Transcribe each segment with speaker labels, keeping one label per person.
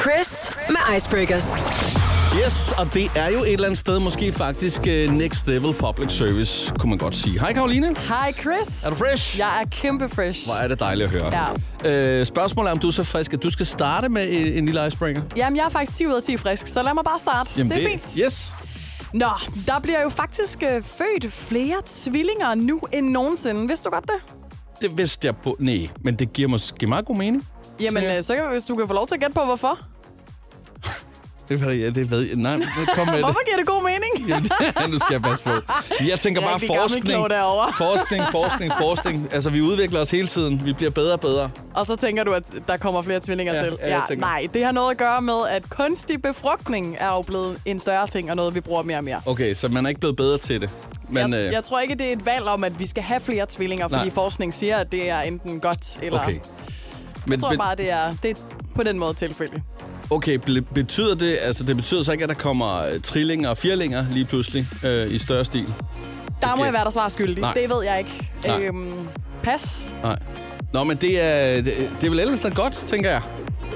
Speaker 1: Chris med Icebreakers.
Speaker 2: Yes, og det er jo et eller andet sted måske faktisk øh, next level public service, kunne man godt sige. Hej Karoline.
Speaker 3: Hej Chris.
Speaker 2: Er du fresh?
Speaker 3: Jeg er kæmpe fresh.
Speaker 2: Hvor er det dejligt at høre. Ja. Øh, spørgsmålet er, om du er så frisk, at du skal starte med en, en lille icebreaker?
Speaker 3: Jamen, jeg er faktisk 10 ud af 10 frisk, så lad mig bare starte. Jamen, det er fint.
Speaker 2: Yes.
Speaker 3: Nå, der bliver jo faktisk øh, født flere tvillinger nu end nogensinde. Vidste du godt det?
Speaker 2: Det vidste jeg på. Nej, men det giver måske meget god mening.
Speaker 3: Jamen, øh, så kan, hvis du kan få lov til at gætte på, hvorfor.
Speaker 2: Det, ved jeg- det ved jeg. Nej, men kom med det.
Speaker 3: Hvorfor giver det god mening?
Speaker 2: Ja, nu skal jeg passe på. Jeg tænker bare
Speaker 3: Rigtig gammel
Speaker 2: forskning,
Speaker 3: klog derovre.
Speaker 2: forskning, forskning, forskning. Altså, vi udvikler os hele tiden. Vi bliver bedre og bedre.
Speaker 3: Og så tænker du, at der kommer flere tvillinger
Speaker 2: Ja,
Speaker 3: til.
Speaker 2: ja, jeg tænker.
Speaker 3: nej, det har noget at gøre med, at kunstig befrugtning er jo blevet en større ting, og noget, vi bruger mere og mere.
Speaker 2: Okay, så man er ikke blevet bedre til det. Men,
Speaker 3: Men, jeg,
Speaker 2: øh,
Speaker 3: jeg tror ikke, det er et valg om, at vi skal have flere tvillinger, fordi
Speaker 2: Nej.
Speaker 3: forskning siger, at det er enten godt eller...
Speaker 2: okay. Men,
Speaker 3: Jeg tror
Speaker 2: men-
Speaker 3: bare, det er, det er på den måde tilfælde.
Speaker 2: Okay, ble- betyder det, altså det betyder så ikke, at der kommer øh, trillinger og firlinger lige pludselig øh, i større stil?
Speaker 3: Der må
Speaker 2: Okay.
Speaker 3: jeg være der svar skyldig.
Speaker 2: Nej.
Speaker 3: Det ved jeg ikke.
Speaker 2: Nej.
Speaker 3: Øhm, pas.
Speaker 2: Nej. Nå, men det er, det, det er vel ellers da godt, tænker jeg.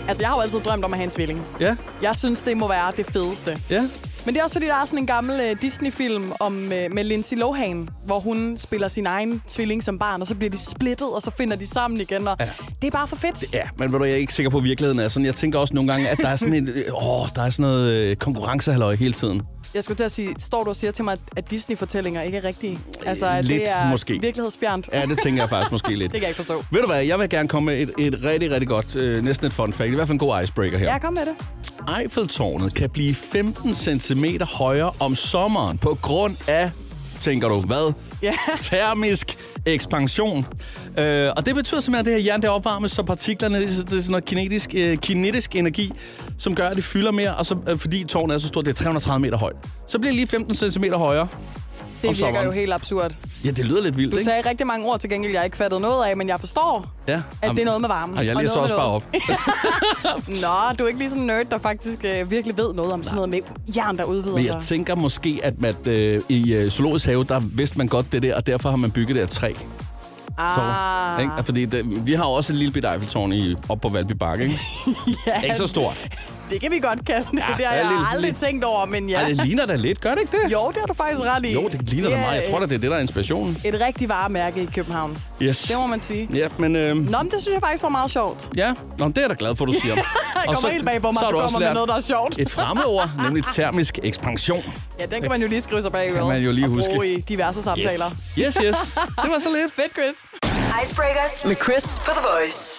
Speaker 3: Altså, jeg har jo altid drømt om at have en tvilling.
Speaker 2: Ja,
Speaker 3: Jeg synes, det må være det fedeste.
Speaker 2: ja.
Speaker 3: Men det er også, fordi der er sådan en gammel øh, Disney-film om, øh, med Lindsay Lohan, hvor hun spiller sin egen tvilling som barn, og så bliver de splittet, og så finder de sammen igen. Og ja. Det er bare for fedt.
Speaker 2: Ja, men ved du, jeg er ikke sikker på, at virkeligheden er sådan. Jeg tænker også nogle gange, at der er sådan, en, øh, åh, der er sådan noget øh, konkurrencehalløj hele tiden.
Speaker 3: Jeg skulle til at sige, står du og siger til mig, at Disney-fortællinger ikke er rigtige? Altså, at
Speaker 2: lidt
Speaker 3: det er
Speaker 2: måske.
Speaker 3: virkelighedsfjernt.
Speaker 2: Ja, det tænker jeg faktisk måske lidt.
Speaker 3: Det kan jeg ikke forstå.
Speaker 2: Ved du hvad, jeg vil gerne komme med et, et rigtig, rigtig godt, øh, næsten et fun fact. I hvert fald en god icebreaker her.
Speaker 3: Ja, kom med det.
Speaker 2: Eiffeltårnet kan blive 15 cm højere om sommeren på grund af, tænker du, hvad?
Speaker 3: Ja.
Speaker 2: Termisk ekspansion. Øh, og det betyder simpelthen, at det her jern det opvarmes, så partiklerne, det, er- det er sådan noget kinetisk, øh, kinetisk energi, som gør, at det fylder mere, og så, øh, fordi tårnet er så stort, det er 330 meter højt. Så bliver det lige 15 cm højere.
Speaker 3: Det virker
Speaker 2: sommeren.
Speaker 3: jo helt absurd.
Speaker 2: Ja, det lyder lidt vildt,
Speaker 3: Du
Speaker 2: ikke?
Speaker 3: sagde rigtig mange ord til gengæld, jeg ikke fattede noget af, men jeg forstår,
Speaker 2: Ja.
Speaker 3: at
Speaker 2: Jamen,
Speaker 3: det er noget med varmen.
Speaker 2: Jamen, Ah, jeg
Speaker 3: og
Speaker 2: læser
Speaker 3: noget
Speaker 2: også
Speaker 3: med
Speaker 2: bare
Speaker 3: noget.
Speaker 2: op.
Speaker 3: Nå, du er ikke lige sådan en nerd, der faktisk øh, virkelig ved noget om sådan noget med jern, der udvider
Speaker 2: Men jeg
Speaker 3: sig.
Speaker 2: tænker måske, at man, øh, i øh, zoologisk have, der vidste man godt det der, og derfor har man bygget det af træ.
Speaker 3: Ah.
Speaker 2: tårn. Ikke? Altså, Fordi det, vi har jo også et lille bitte Eiffeltårn i, op på Valby Bakke, ikke?
Speaker 3: ja,
Speaker 2: Ikke så stort.
Speaker 3: Det kan vi godt kalde det. Ja, det
Speaker 2: der
Speaker 3: har
Speaker 2: er
Speaker 3: jeg
Speaker 2: lidt-
Speaker 3: aldrig
Speaker 2: lidt-
Speaker 3: tænkt over, men ja.
Speaker 2: Ja. Ej, det ligner da lidt, gør det ikke det?
Speaker 3: Jo, det har du faktisk ret i.
Speaker 2: jo det ligner da meget. Jeg tror da, det er det, der er inspirationen.
Speaker 3: Et rigtigt varemærke i København.
Speaker 2: Yes.
Speaker 3: Det må man sige.
Speaker 2: Ja, men... Øh,
Speaker 3: Nå, men det synes jeg faktisk var meget sjovt.
Speaker 2: ja, Nå, men det er jeg da glad for, du siger.
Speaker 3: Jeg kommer helt bag på mig,
Speaker 2: så har
Speaker 3: at du kommer med noget, der er sjovt.
Speaker 2: et fremmedord, nemlig termisk ekspansion.
Speaker 3: Ja, den kan man jo lige skrive sig bag
Speaker 2: Kan man jo lige
Speaker 3: og bruge
Speaker 2: huske.
Speaker 3: i diverse
Speaker 2: Yes.
Speaker 3: samtaler.
Speaker 2: yes, yes. Det var så lidt.
Speaker 3: Fedt, Chris.
Speaker 1: Icebreakers med Chris på The Voice.